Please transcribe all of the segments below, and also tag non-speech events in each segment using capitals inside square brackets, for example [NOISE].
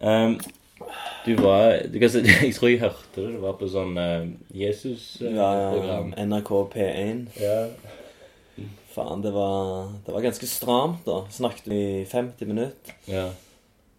Ehm, du var du kan, si- [LAUGHS] Jeg tror jeg hørte det. Det var på sånn Ja, Jesus-program. NRK P1. ja. Faen, det var, det var ganske stramt, da. Snakket i 50 minutter. ja.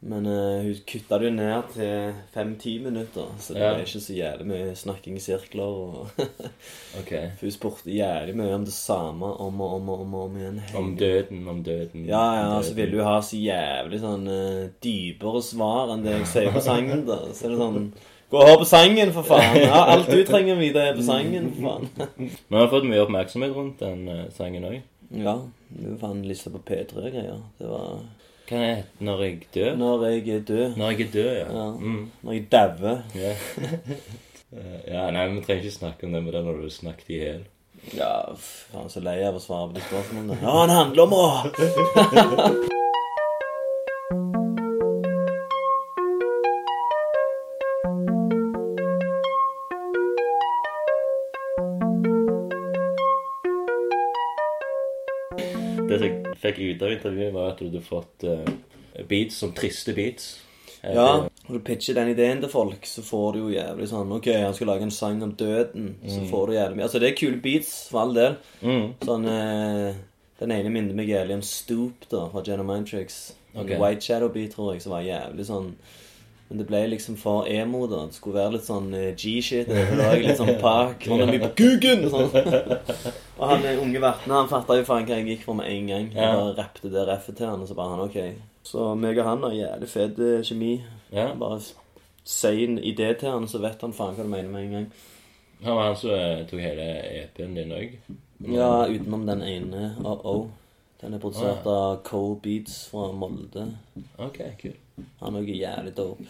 Men eh, hun kutta det jo ned til 5-10 minutter, så det Ja. ble ikke så jævlig mye snakking i sirkler. Og [LAUGHS] Ok. hun spurte jævlig mye om det samme om og om og om, og om igjen. Om døden, om døden. Ja, ja, altså, om og så døden. ville hun ha så jævlig sånn eh, dypere svar enn det jeg sier på sangen. da. Så er det sånn Gå og hør på sangen, for faen! Ja, alt du trenger å vite, er på sangen, for faen. Men jeg har fått mye oppmerksomhet rundt den eh, sangen òg. Ja, hun fant lista på P3 og greier. Det var Hva er det når jeg dør? Når jeg er død. Når jeg er død, ja. Ja. Mm. Når jeg dauer. [LAUGHS] ja. Eh, ja, nei, men Vi trenger ikke snakke om det, men det har du snakket i hjel. Ja, f- faen så lei av å svare på de spørsmålene. Ja, han handler om å Det som jeg fikk ut av intervjuet, var at du hadde fått eh, beats som triste beats. Eh, Ja, når du pitcher den ideen til folk, så får du jo jævlig sånn OK, han skal lage en sang om døden. Så får du jævlig mye Altså, det er kule beats, for all del. Mm. Sånn eh, Den ene minner meg jævlig om Stoop, da, fra Jenna Mindtricks. En Ok. White Shadow Beat, tror jeg, som var jævlig sånn men det ble liksom for emo, da. Det skulle være litt sånn eh, G-shit. det var Litt sånn park. Hånda mi på kuken! og Sånn. Og han eh, unge verten, han fatta jo faen hva jeg gikk for med en gang. Jeg Ja. bare rappte det reffet til han, og så bare han OK. Så meg og han har jævlig fet eh, kjemi. ja. Bare si en idé til han, så vet han faen hva du mener med en gang. Han var han som eh, tok hele EP-en din òg. Ja, utenom den ene. Uh-oh. Den er produsert av Cole Beats fra Molde. Ok, kult. Han er også jævlig dope.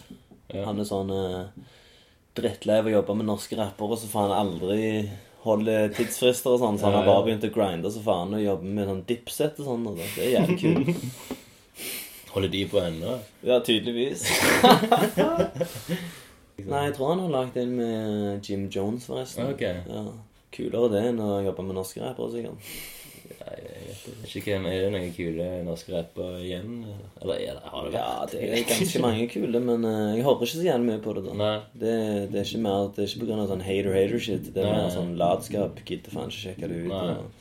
Ja. Han er sånn eh, drittlei av å jobbe med norske rappere, så faen aldri holder tidsfrister og sånn. Så han Ja, har ja. bare begynt å grinde så faen og jobbe med sånn dipset og sånn. Og det. det er jævlig [LAUGHS] kult. Holder de på ennå? Ja, [LAUGHS] tydeligvis. Nei, jeg tror han har lagd en med Jim Jones, forresten. Ok. Ja. Kulere det enn å jobbe med norske rappere, sikkert. Nei, jeg vet ikke. ikke hvem. Er det noen kule norske rappere igjen? Eller er det, har det Ja, vært? det er ganske mange kule, men eh, jeg håper ikke så gjerne mye på det, da. Nei. Det, det er ikke mer Det er ikke på grunn av sånn hater-hater-shit. Det er Nei. mer sånn latskap. Gidder faen ikke sjekke det ut. Nei. Og...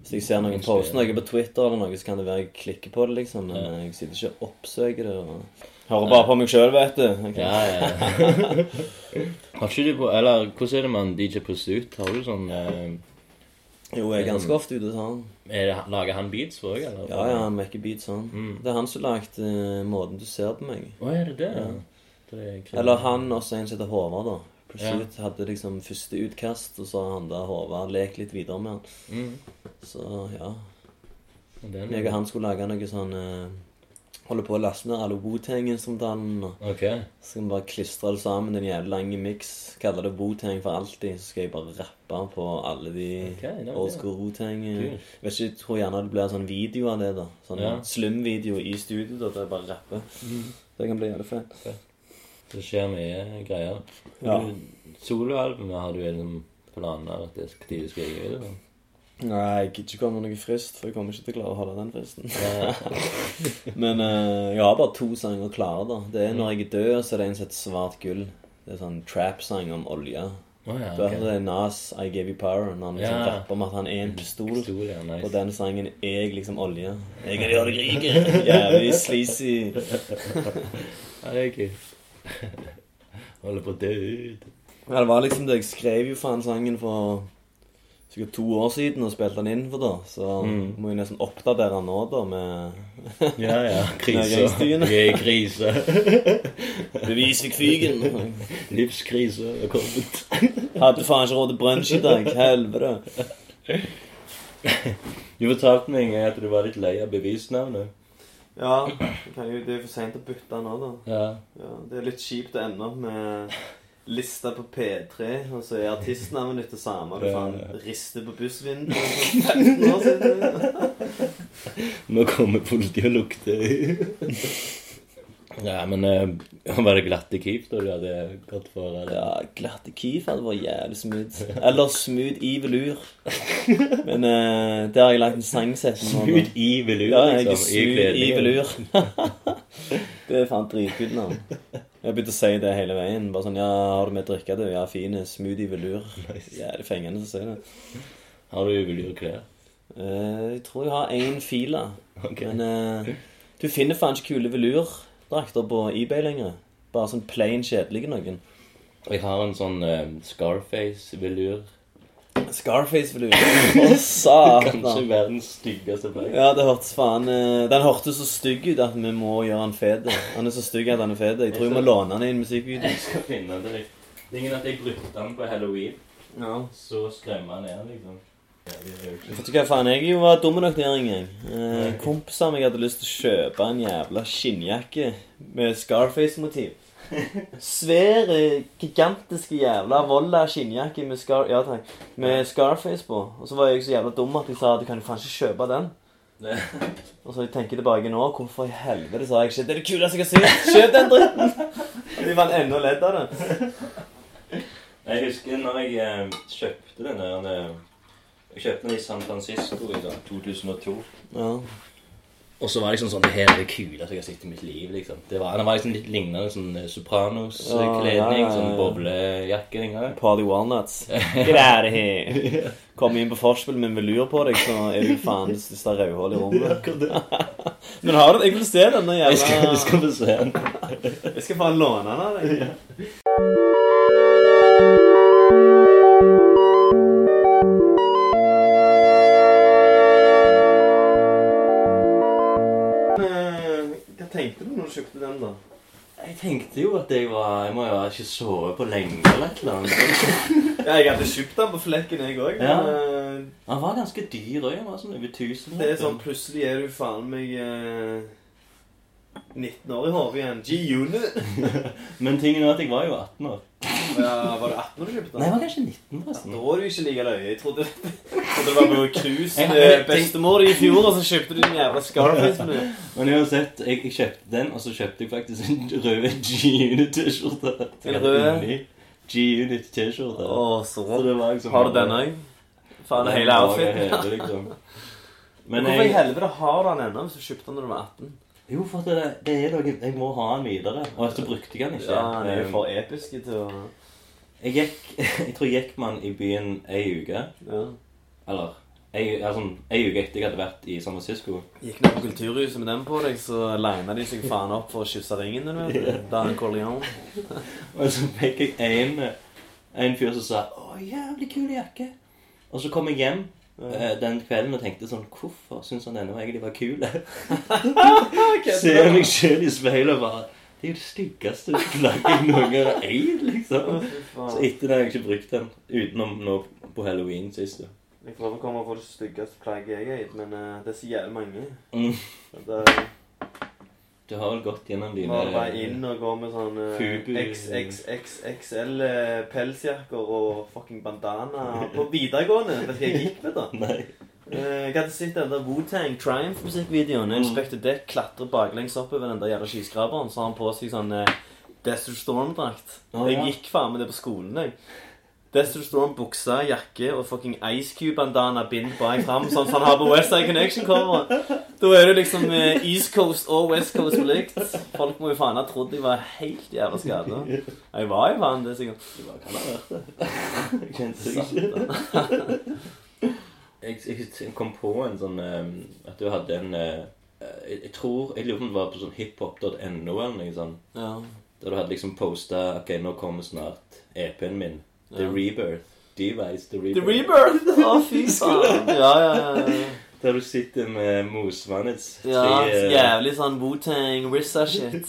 Hvis jeg ser noen poste noe på Twitter, eller noe, så kan det være jeg klikker på det, liksom. Men eh, jeg sitter ikke og oppsøker det. Og... Hører bare på meg sjøl, vet du. Ok. Ja, ja. [LAUGHS] har ikke du på Eller hvordan er det man DJ puster ut? Har du sånn eh, Jo, jeg er ganske ofte ute sånn. er det, Lager han beats for òg, eller? Ja, ja, han mekker beat sånn. Mm. Det er han som lagde eh, måten du ser på meg. Å, er det det? det er kult. Eller han og så en som heter Håvard, da. Pursuit hadde liksom første utkast, og så har han da Håvard lekt litt videre med han. Mm. Så ja. Den, Jeg og han skulle lage noe sånn eh, Holde på å laste ned alle Wotang-instrumentalene. og Ok. Så skal vi bare klistre det sammen i en jævlig lang miks. Kalle det Wotang for alltid. Så skal jeg bare rappe på alle de Ok, det er det. old school Wotang. eh. Kult. Vet ikke, jeg tror gjerne det blir sånn video av det, da. Sånn Ja. Mhm. slum-video i studio da, der jeg bare rapper. Det kan bli jævlig fett. Det skjer mye greier. Ja. Du- Soloalbumet har du liksom planer at det skal de skal gi ut? eller? Nei, jeg gidder ikke komme med noen frist, for jeg kommer ikke til å klare å holde den fristen. Men eh, jeg har bare to sanger klare, da. Det er 'Når jeg er død', og så er det en som heter 'Svart gull'. Det er sånn trap-sang om olje. Å ja, Du har Ah, ok. hørt det Nas 'I Gave You Power', når han liksom Ja. rapper om at han er en pistol. Pistol, ja, nice. Og den sangen er jeg liksom olje. Jeg kan gjøre deg rik. Jævlig sleazy. Ja, det er kult. [LAUGHS] Holder på å dø ut. Ja, det var liksom det. Jeg skrev jo faen sangen for sikkert to år siden og spilte den inn for da. Så Mm. må jeg nesten oppdatere den nå, da, med [LAUGHS] Ja, ja. Krise. [LAUGHS] Nedgangsstien. Vi er i krise. [LAUGHS] Bevis fikk fygen. Livskrise er kommet. Hadde faen ikke råd til brunsj i dag. Helvete. Du fortalte meg at du var litt lei av bevisnavnet. Ja, det er for seint å bytte nå, da. Ja. det er litt kjipt å ende opp med lista på P3, og så er artistnavnet ditt det samme. du faen rister på bussvinduet. Nå kommer politiet og lukter. [LAUGHS] Ja, men eh, var det glatte keep da du hadde gått for? Eller? Ja, glatte Keef hadde vært jævlig smooth. Eller smooth i velur. Men eh, det har jeg lagt en sangsetning om. Smooth i velur, Ja, jeg er liksom. smooth i kledningen. velur. [LAUGHS] Det er faen dritkult navn. Jeg begynte å si det hele veien. Bare sånn, ja, har du med drikke, du? Ja, fine. Smoothie velur. Nice. Ja, det er fengende å si det. Har du velurklær? Eh, jeg tror jeg har én fila. Ok. Men eh, du finner faen ikke kule velurdrakter på eBay lenger. Bare sånn plain kjedelige noen. Jeg har en sånn eh, [LAUGHS] Scarface-velur. [LAUGHS] Scarface-velur. Å, satan. Kanskje verdens styggeste plagg. Ja, det hørtes faen eh, Den hørtes så stygg ut at vi må gjøre han fet. Han er så stygg at han er fet. Jeg tror jeg må låne han i en musikkvideo. Jeg skal finne det. litt. Tingen er at jeg brukte den på halloween, Ja. så skremmer jeg ned den, liksom. Jævlig reaksjon. Vet du hva faen, jeg var dum nok der en gang. Eh, kompiser av meg hadde lyst til å kjøpe en jævla skinnjakke med Scarface-motiv. [LAUGHS] Svære, gigantiske jævla volla skinnjakke med, scar ja, takk, med Scarface på. Og så var jeg så jævla dum at jeg sa at du kan jo faen ikke kjøpe den. Det- [LAUGHS] Og så jeg tenker tilbake nå, hvorfor i helvete sa jeg ikke det er det kuleste jeg har sett? Kjøp den [LAUGHS] dritten! Og de var enda ledd av det. Jeg husker når jeg eh, kjøpte den der eh, Jeg kjøpte den i San Francisco i da, 2002. Ja. Og så var det liksom sånn Det her er det kuleste jeg har sett i mitt liv. liksom. Det var, den var liksom litt lignende sånn eh, Sopranos-kledning. Ja, ja, ja, ja. Sånn boblejakke den gangen. Party walnuts. Get out of here. Kom inn på forspill med velur på deg, så er du faen det største rødhålet i rommet. Men har du Jeg vil se denne Jeg skal, jævla jeg skal få se den. Jeg skal faen låne den av deg. Men, eh, Hva tenkte du når du kjøpte den, da? Jeg tenkte jo at jeg var Jeg må jo ha ikke sove på lenge eller et eller annet. Ja, jeg hadde kjøpt den på flekken, jeg òg. Ja. men eh, Han var ganske dyr òg. Han var sånn over 1000. Det er sånn, plutselig er du faen meg eh, 19 år i hodet igjen. G-unit! Men tingen er at jeg var jo 18 år. Ja, var du 18 år du kjøpte Nei, jeg den? var kanskje 19, Da forresten. var du ikke like løye. Jeg trodde, trodde det var noe krus Jeg- med jeg- bestemor i fjor, og så kjøpte du den jævla Scarface. med det. Men uansett, jeg, jeg kjøpte den, og så kjøpte jeg faktisk en rød G-Unit-T-skjorte. En rød? G-Unit-T-skjorte. Å, så Så det var liksom Har du den òg? Faen, det hele outfiten. Hele, liksom. Men Hvorfor i jeg helvete har du den ennå hvis du kjøpte den da du var 18? Jo, for det, det er noe Jeg må ha den videre. Og så brukte jeg den ikke. Eh, Um, Ja, Den er jo for episk til å jeg gikk [LAUGHS] Jeg tror jeg gikk med den i byen ei uke. ja. Eller ei, altså, ei uke etter jeg hadde vært i San Francisco. Gikk ned på Kulturhuset med den på deg, så lina de seg faen opp for å kysse ringen din. vet du. Dan Corleone. Og så fikk jeg en, en fyr som sa 'Å, jævlig kul jakke'. Og så kom jeg hjem eh, den kvelden og tenkte sånn 'Hvorfor syns han denne egentlig var kul?' [LAUGHS] Ser liksom- meg selv i speilet og bare 'Det er jo det styggeste plagget jeg noen gang har eid', liksom. Så Jeg etter det har jeg ikke brukt den. Utenom nå på halloween sist. da. prøver å komme på det styggeste plagget jeg har gitt, men eh, det er så jævlig mange. Mm. Og Da Du har vel gått gjennom dine var det bare inn og gå med sånn Fubu. eh, XXXXL eh, pelsjakker og fucking bandana på videregående. Vet du hva jeg gikk med, da? [LAUGHS] Nei. Eh, Jeg hadde sett den der Wu-Tang Triumph-musikkvideoen. Mm. Inspector Deck klatrer baklengs oppover den der jævla skyskraperen, så har han på seg sånn eh, Desert Storm-drakt. Å, ja. Jeg gikk faen med det på skolen, jeg. Desert Storm-buksa, jakke og fucking Ice Cube-bandana bind bak fram, sånn som han har på Westside Connection-coveret. Da er det liksom eh, East Coast og West Coast på likt. Folk må jo faen ha trodd jeg var helt jævla skada. Jeg var jo faen det, sikkert. Det bare kan ha vært det. Jeg [LAUGHS] kjente det ikke. Sant, da. Jeg, jeg, jeg kom på en sånn eh, At du hadde en eh, jeg, jeg tror Jeg lurer på om det var på sånn hiphop.no eller noe sånt. Ja. Der du hadde liksom posta Ok, nå kommer snart EP-en min. The Ja. Rebirth. Device The Rebirth. The Rebirth! Å, fy faen. Ja, ja, ja, ja. Der du sitter med Mosvannets Ja, eh, jævlig sånn Wu-Tang, [LAUGHS] RZA-shit.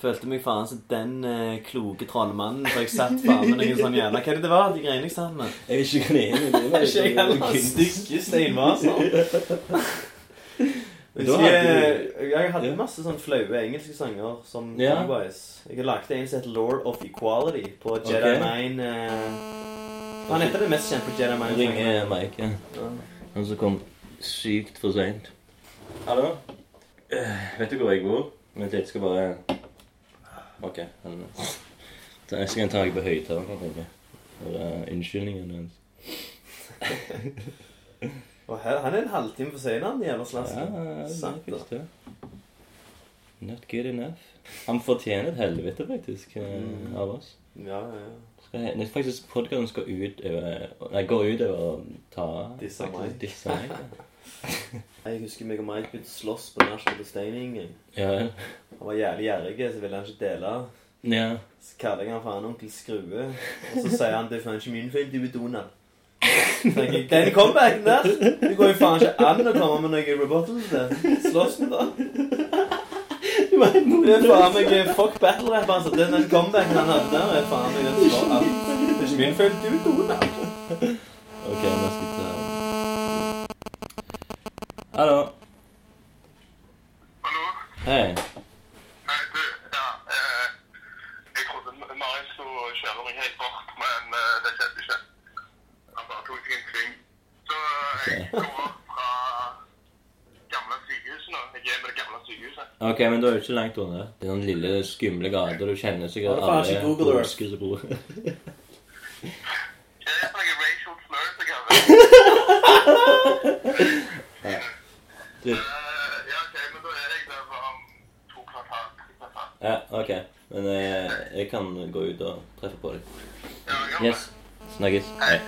Følte meg faen som den eh, kloke trollmannen, for jeg satt faen med noen sånn jævla Hva er det det var, de greiene jeg satt med? [LAUGHS] Jeg vil ikke gå inn i det. sånn- men Ikke jeg heller. kunne- Stygge [LAUGHS] steinvaser. altså. Men da hadde Jeg, jeg hadde Ja. masse sånn flaue engelske sanger som Ja. Pennywise. Jeg lagde en som het Lord of Equality på Jedi Ok. Mine eh, Han heter det mest kjente på Jedi du Mine. ringe Mike. Ja. Han som kom sykt for seint. Hallo? Eh, vet du hvor jeg bor? Vent litt, skal bare Ok. Han... Da skal jeg ta deg på høyttaler. tenker jeg. For eh, unnskyldningen hans. Og her, han er en halvtime for sein, han jævla slasken. Ja, det er Sant, da. faktisk det. Not good enough. Han fortjener et helvete, faktisk, eh, Mm. av oss. Ja, ja, ja. Skal he- Nei, faktisk, podkasten skal ut over Nei, går ut over å ta Disse faktisk, meg. Disse meg. Jeg husker meg og Mike begynte å slåss på nachspiel på Steining. Ja. ja. Han var jævlig gjerrig, så ville han ikke dele. ja. Så kaller jeg han faen onkel Skrue, og så sier han det er faen ikke min feil, du er Donald. Så tenker jeg, Den comebacken der! Det går jo faen ikke an å komme med noen rebuttal til det. Slåss med det. Det er faen meg eh, fuck battle-rapp, altså. Den, den comebacken han hadde der, er faen meg den slår an. Det er ikke min feil, du er Donald. Ok, nå skal vi ta Hallo. Hallo? Hei. Nei, du, ja. Eh, jeg trodde M- Marin skulle kjøre meg helt bort, men eh, det skjedde ikke. Han bare tok seg en sving. Så eh, jeg går opp fra gamle sykehuset nå. Jeg er med det gamle sykehuset. Ok, men du er jo ikke langt unna. Det er den lille, skumle gata. Du kjenner sikkert Har du faen ikke Google Earth? mennesker som bor [LAUGHS] Det er for noen racial slurs jeg har. Du- Eh, ja, ok, men da er jeg der om to kvartal, tre kvartal. Ja, ok. Men eh, jeg kan gå ut og treffe på deg. Ja, jeg har Yes. Snakkes. Hei.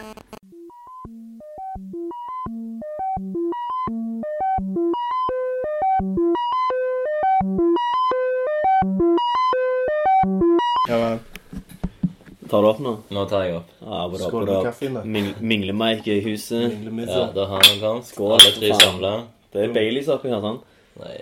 Tar du opp nå? Nå tar jeg opp. Ja, hvor Skål da? for kaffen, da. Minglemeik i huset. Ja, Minglemiddag. da har vi den. Skål, Alle tre for faen. samla. Det er Baileys oppi her, sant? Nei,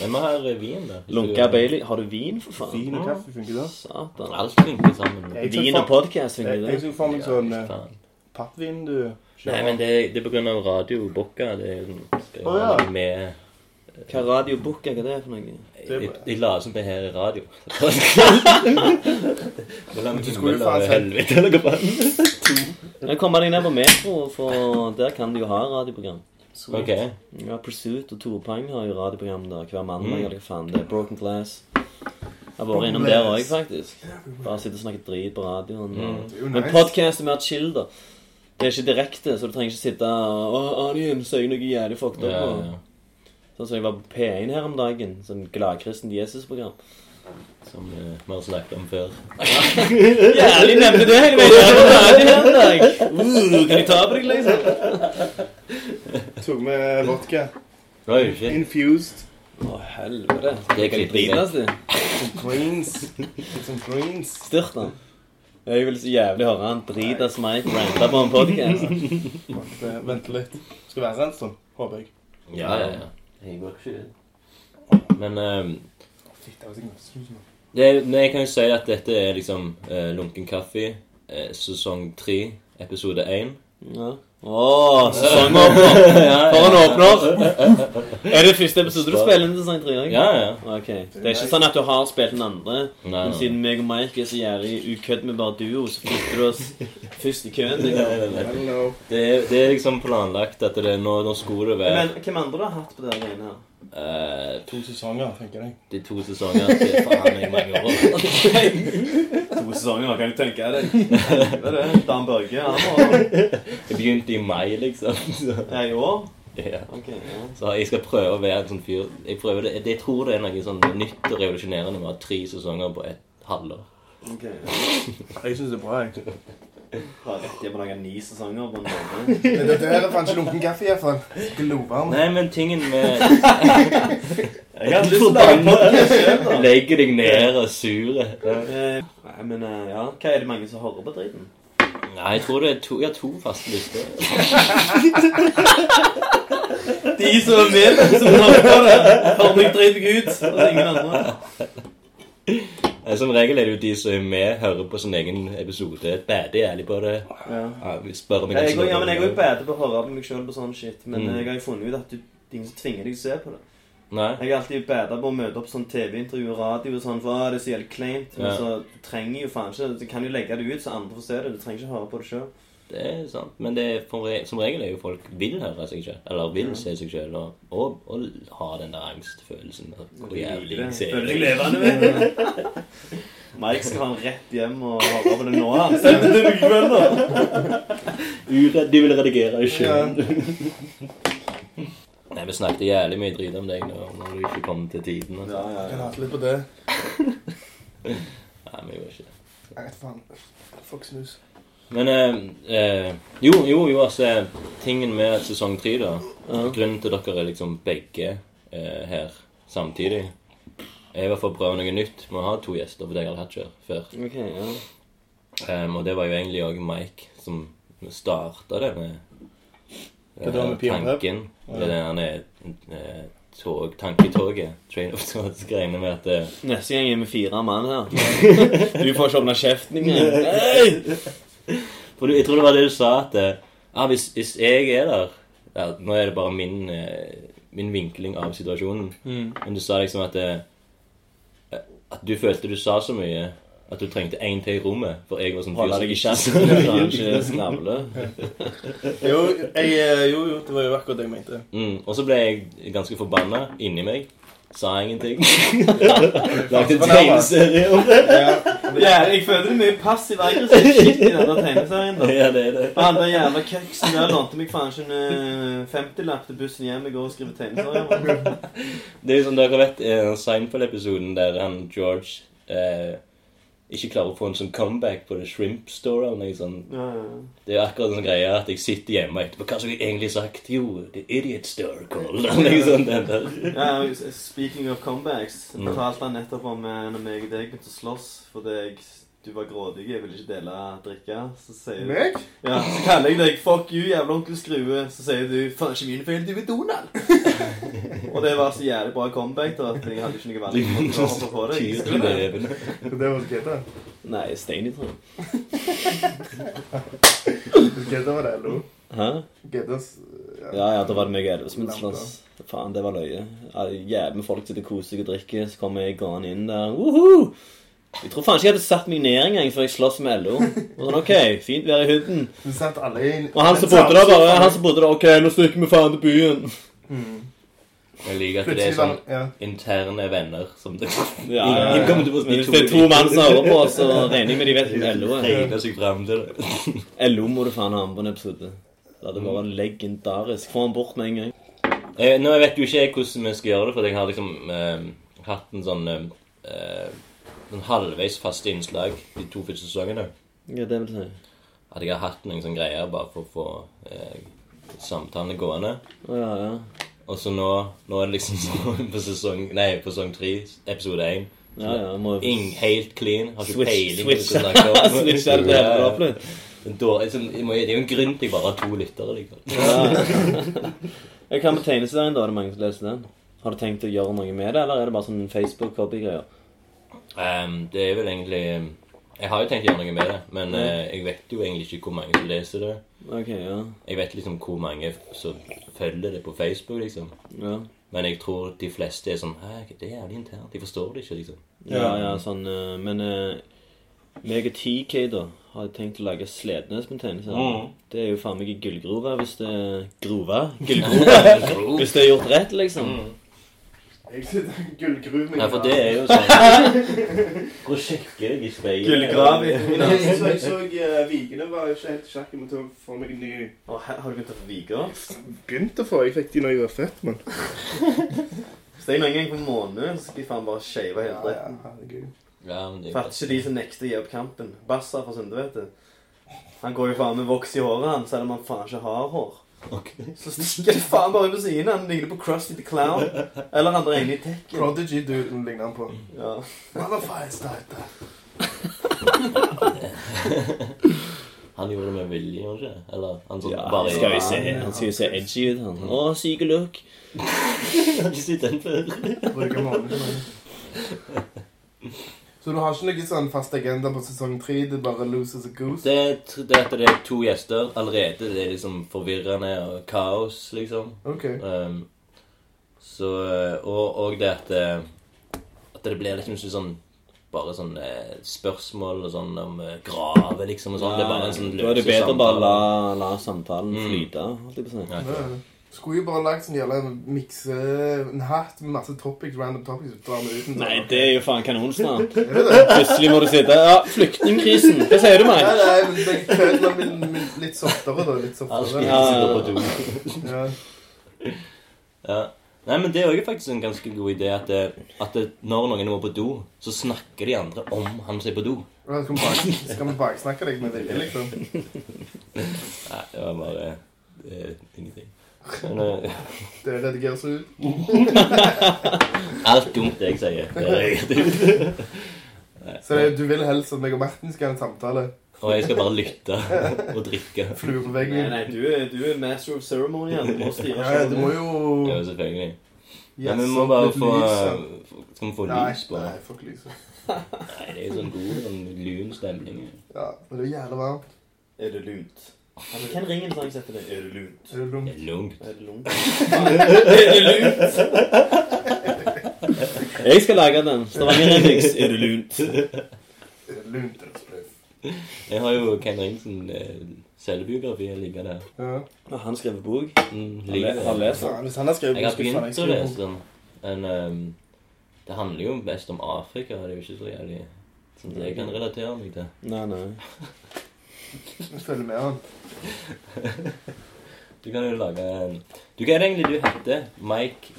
men vi har eh, vin, da. Lunka Bailey. Har du vin, for faen? Fin og kaffe funker det. Satan. Alt funker sammen. Jeg Vin ser og podcast, Jeg, funker jeg det? så for meg sånn eh, Faen. pappvin du Nei, men det, det er på grunn av radiobokka. Det skal Å, ja. være noe med Hva radio booker hva det er for noe? Jeg, Det- jeg la som det her i radio. Men du skulle jo faen sagt- helvete, eller hva faen? Men kom deg ned på Metro, for der kan du jo ha radioprogram. Ok. Ja, Pursuit og Tore Pang har jo radioprogram der hver mandag. eller hva faen det er. Broken Glass. Jeg har vært innom der òg, faktisk. Bare sitte og snakke drit på radioen. og- Mm. Det er jo Men nice. podkast er mer chill, da. Det er ikke direkte, så du trenger ikke sitte og «Å, Adrian, sier jeg noe jævlig fucked up Ja, nå?» ja. Sånn som jeg var på P1 her om dagen. Sånn gladkristen Jesus-program. Som eh, vi har snakket om før. Jævlig nevne det hele veien! Uh, kan jeg ta på deg, liksom? Tok med vodka. Det var jo ikke Infused. Å, helvete. Det er klippet vekk. Dritas, du. Greens. Litt sånn greens. Styrt han. Jeg vil så jævlig høre han Dritas Mike rante på en [LAUGHS] podcast. Vent, eh, Vent litt. Skal være en stund, håper jeg. Ja, ja, ja. Jeg går ikke Men eh, Fitt, jeg var sikkert Excuse me. det, er- men jeg kan jo si at dette er liksom eh, Lunken kaffe, eh, sesong tre, episode én. Ja. Åh, [LAUGHS] sesongåpner. For en åpner. Er det første episode du spiller inn til sesong tre? ikke? Ja, ja. Ok. Det er ikke sånn at du har spilt den andre, Nei, men nei. siden meg og Mike er så jævlig ukødd med bare duo, så flytter du oss først i køen. Liksom. Hello. Det, er- det er liksom planlagt at det er nå, nå skulle det være Men hvem andre du har hatt på det greiene her? eh, To sesonger, tenker jeg. de to sesongene til faen meg mange år. To sesonger, kan du tenke [LAUGHS] deg. Det er det. Dan Børge, han var Det begynte i mai, liksom. Så, Ja, i år. ja. Ok, ja. Så jeg skal prøve å være en sånn fyr Jeg, prøver det. jeg tror det er noe sånn nytt og revolusjonerende med å ha tre sesonger på et halvår. Ok. Jeg syns det er bra, jeg. Har rett til å lage ni sesonger på en [LAUGHS] måned. Men det der er faen ikke lunken kaffe, iallfall. Glovarm. Nei, men tingen med Jeg har lyst til å lage en podcast selv, da. Legge deg ned og sure. Eh, Nei, men eh, ja, hva er det mange som hører på driten? Nei, jeg tror det er to, jeg har to faste lister. De som er med, som hører på det. Hører meg drite meg ut, og ingen andre. Eh, Som regel er det jo de som er med, hører på sin egen episode. Bader jævlig på det. Ja. Ja, vi spør om Ja, Jeg, kan går- ja, snakke om men jeg går jo det. bedre på å høre på meg sjøl på sånn shit, men Mm. jeg har jo funnet ut at du, det er ingen som tvinger deg til å se på det. Nei? Jeg er alltid bedre på å møte opp sånn TV-intervju og radio og sånn, for ah, det er så jævlig kleint. Men Ja. så du trenger jo faen ikke Du kan jo legge det ut så andre får se det. Du trenger ikke høre på det sjøl. Det er sant, men det er for, som regel er jo folk vil høre seg selv, eller vil se seg selv, og, og, og ha den der angstfølelsen. og Hvor jævlig jeg ser Føler deg levende [LAUGHS] med. Mike skal ha han rett hjem og høre på det nå. Han sender det til ukveld, da. Uredd, de vil redigere Ja. [LAUGHS] Nei, men vi snakket jævlig mye drit om deg nå, når du ikke kom til tiden. Og Ja, sånn. ja, Jeg ja. hater litt på det. Nei, vi gjorde ikke det. Jeg vet faen. Fox News. Men eh, eh, Jo, jo, jo, altså Tingen med sesong tre, da. Grunnen til dere er liksom begge eh, her samtidig, er i hvert fall å prøve noe nytt. Vi har to gjester, for det har jeg aldri hatt før- før. Ok, ja. Ehm, og det var jo egentlig òg Mike som starta det med Det der med eh, Pion Hub? tanken. Det der han er eh, tog, tanketoget, train of thoughts-greiene med at eh, Neste gang er vi fire mann [LAUGHS] her. Du får ikke åpne kjeften engang. Hey! For du, jeg tror det var det du sa, at eh, ah, hvis, hvis jeg er der ja, Nå er det bare min, eh, min vinkling av situasjonen. Mm. Men du sa liksom at eh, eh, At du følte du sa så mye at du trengte én til i rommet. For jeg var sånn Holde deg i kjeften, så han [LAUGHS] ikke skravler. Jo, jeg, eh, jo, jo, det var jo akkurat det jeg mente. Mm, og så ble jeg ganske forbanna inni meg. Sa [LAUGHS] ingenting. Lagde en fornærmet. tegneserie om det. Ja, jeg føler det mye passiv aggressiv shit i denne tegneserien. da. Ja, det er det. Han der jævla køksen der lånte meg faen ikke en eh, 50-lapp til bussen hjem i går og skrev [LAUGHS] tegneserier. Det er jo som dere vet, eh, den Seinfeld-episoden der han George eh, ikke klarer å få en sånn comeback på The Shrimp Store. eller noe sånt. Ja, ja. Det er akkurat sånn greie at jeg sitter hjemme etterpå. Hva skulle jeg egentlig sagt? Jo, The Idiot Store Call. eller [LAUGHS] noe sånt, den der. Ja, og Speaking of comebacks, fortalte han nettopp om eh, når meg og deg begynte å slåss fordi jeg, du var grådig, jeg ville ikke dele drikke. Så sier du Meg? Ja, så kaller jeg deg 'fuck you, jævla onkel Skrue'. Så sier du 'faen, ikke min feil, du er Donald'. og det var så jævlig bra comeback da, at jeg hadde ikke noe [LAUGHS] valg. Jeg måtte hoppe på deg. Tyr i neven. Det var Sketa. Nei, Steini, tror jeg. Sketa var det, LO. Hæ? Getas Ja, ja, da var det meg og Elvesund som sloss. Faen, det var løye. Ja, Jævlig med folk sitter koselig og drikker, så kommer jeg gående inn der. Woohoo! Jeg tror faen ikke jeg hadde satt meg ned engang før jeg sloss med LO. Og sånn, ok, fint vær i huden. Vi satt alle i Og han som bodde der, bare han som bodde der, OK, nå stikker vi faen til byen. Jeg liker at det er Plutselig sånn var ja. interne venner som det Ja, [LAUGHS] Ingen- ja, ja. kommer til å få Men Hvis det er to mann som hører på oss, så regner jeg med de vet hvem LO er. regner seg frem til. det. LO må du faen ha med på en episode. Det hadde vært legendarisk. Få han bort med en gang. Eh, nå vet jo ikke jeg hvordan vi skal gjøre det, for jeg har liksom eh, hatt en sånn eh, en halvveis faste innslag de to første sesongene. Ja, det vil si. At jeg har hatt noen sånne greier bare for å få eh, samtalene gående. Å, ja, ja. Og så nå, nå er det liksom [LAUGHS] sånn på sesong Nei, på sesong tre, episode én. Ja, ja, må jo [LAUGHS] Ing, helt clean. Har ikke switch, peiling på switch. hva jeg snakker om. [LAUGHS] Switch er det Ja, hele ja. drapet. Det er dårlig, liksom, jeg må- det er jo en grunn til jeg bare har to lyttere. liksom. Jeg kan med tegneserien, da. Er det mange som leser den? Har du tenkt å gjøre noe med det, eller er det bare sånn Facebook-hobbygreier? Ehm, det er vel egentlig Jeg har jo tenkt å gjøre noe med det, men eh, jeg vet jo egentlig ikke hvor mange som leser det. Ok, ja. Jeg vet liksom hvor mange som følger det på Facebook, liksom. Ja, Men jeg tror de fleste er sånn Hæ, det er jævlig internt. De forstår det ikke, liksom. ja, ja sånn eh, Men eh, meg og TK, da, har jeg tenkt å lage Slednes med tegneserien. Mhm. Det er jo faen meg i gullgrove hvis det er Grove? [LAUGHS] Gullgrove? hvis det er gjort rett, liksom. Jeg sitter gullgruven Nei, for det er jo sånn Gå og sjekke deg i speilet. Gullgrav. Jeg så, jeg så eh, Vikene var jo ikke helt sjakk med å få meg en ny Og her har du begynt å få viker? Begynte å få. Jeg fikk de når jeg var født, mann. Hvis jeg en gang på måneden, så skal jeg faen bare shave helt rett. herregud. Ja, men det er Fatter ikke de som nekter å gi opp kampen. Bassa fra Sunde, vet du. Han går jo faen med voks i håret, han, selv om han faen ikke har hår. Så stikker det faen bare ut på siden. Han ligner på Krusty the Clown. Eller han der inne i tekken. Prodigy-duden ligner han på. Ja. Motherfire starter. Han gjorde det med vilje, gjorde han ikke? Eller han sånn Ja, bare skal vi se. Han skal jo se edgy ut, han. Å, syke look. [LAUGHS] Jeg har ikke sett den før. Bruker måneden. Så du har ikke noe sånn fast agenda på sesong tre? Det er bare loses a goose? Det, det at det er to gjester allerede, det er liksom forvirrende og kaos, liksom. OK. Um, så, eh, og, og det at, eh, at det blir liksom ikke sånn bare sånn eh, spørsmål og sånn om eh, grave, liksom, og sånn. Det er bare en sånn Da er det bedre bare la, la samtalen Mm. flyte. holdt jeg på å si. Ja, Ja, ja. Skulle jo bare lagd sånn jævla mikse En hatt med masse topics, random topics. og Drar vi ut en Nei, sånn- det er jo faen kanon snart. [LAUGHS] Er det det? Plutselig må du sitte Ja, flyktningkrisen. Hva sier du, Nei, Mike? nei, men det er kødd, men- men- men litt softere, da. Litt Alt skal softere. ikke sitte på do. Ja. Ja. Nei, men det er jo faktisk en ganske god idé at, det, at det, når noen må på do, så snakker de andre om han som er på do. Ja, Skal vi bak- skal vi baksnakke deg med det, liksom? Nei, det var bare det er ingenting. Men, eh, Det redigeres ut. [LAUGHS] alt dumt det jeg sier, [LAUGHS] det er negativt. Så det, du vil helst at meg og Martin skal ha en samtale? Og jeg skal bare lytte og drikke. Flue på Nei, veggen? nei, du er, du er master of ceremony. her. Du må styre Ja, ja, du må Ja, jo selvfølgelig. Ja, men vi må sånn, bare litt få eh, lys, Skal vi få ja. lys på Nei, det? nei, fuck lyset. Nei, det er jo sånn god, sånn lun stemning. Ja, men det er jo jævlig varmt. Er det lunt? Ja, men Hvem ringer en sang som heter det? Er det lunt? Er det Det dumt? er lungt. Er det lunt? er det [LAUGHS] lunt? Jeg skal lage den. Stavanger Remix. Er det lunt? Er det lunt? Er det sprøyt? Jeg har jo Ken Ringsen eh, selvbiografi ligger der. Ja. Har han skrevet bok? Mm, Har le- ligger har der. lest den? Faen, Hvis han har skrevet Jeg har skulle faen begynt å skrive lese den, men ehm, det handler jo mest om Afrika. Det er jo ikke så jævlig sånn at jeg kan relatere meg til. Nei, nei. bok. Jeg følger med han. Du kan jo lage en Du Hva er det egentlig du heter? Mike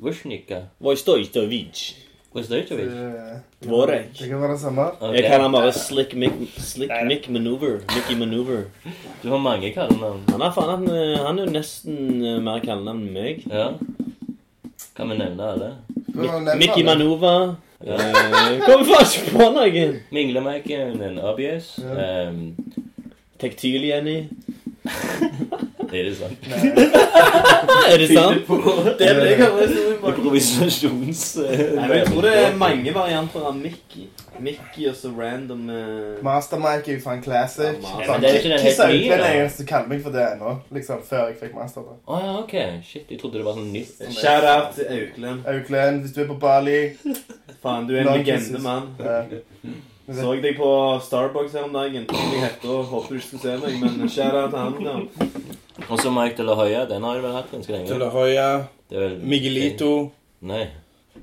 Woznica? Vostojtovic. Woznica? Det- Dvorek. Det kan være det samme. Jeg kaller han bare Slick Mick, Slick Mick Maneuver. Mickey Maneuver. Du har mange kallenavn. Han er, faen, han, eh, han er jo nesten eh, mer kallenavn enn meg. Ja. Kan vi nevne alle? Du har Mik nevnt Mickey alle. Manova. Eh, Kom faen ikke på noen! Minglemeiken, en obvious. Ja. ehm, Tektil-Jenny. det er det sant. Eh, Nei, Er det sant? [LAUGHS] Det er det jeg hører som Improvisasjons... Jeg tror det er Eh, mange varianter av Mickey. Mickey og så random eh, Mastermike er jo faen classic. Ja, men Sånn, det er jo ikke den helt Kiss nye, Auklend da. er den eneste som kaller meg for det ennå. Liksom, før jeg fikk master. da. Å ja, ok. Shit, jeg trodde det var sånn nytt. Shout-out til Auklend. Auklend, hvis du er på [LAUGHS] Bali Faen, du er en Lang legende, Jesus. mann. eh, Så deg på Starbucks her om dagen. Tok meg hetta og håpet du ikke skulle se meg, men shout-out til han. da. Og så Mike de la Hoya. Den har du vel hatt ganske lenge? la Hoya, Det er vel- Nei.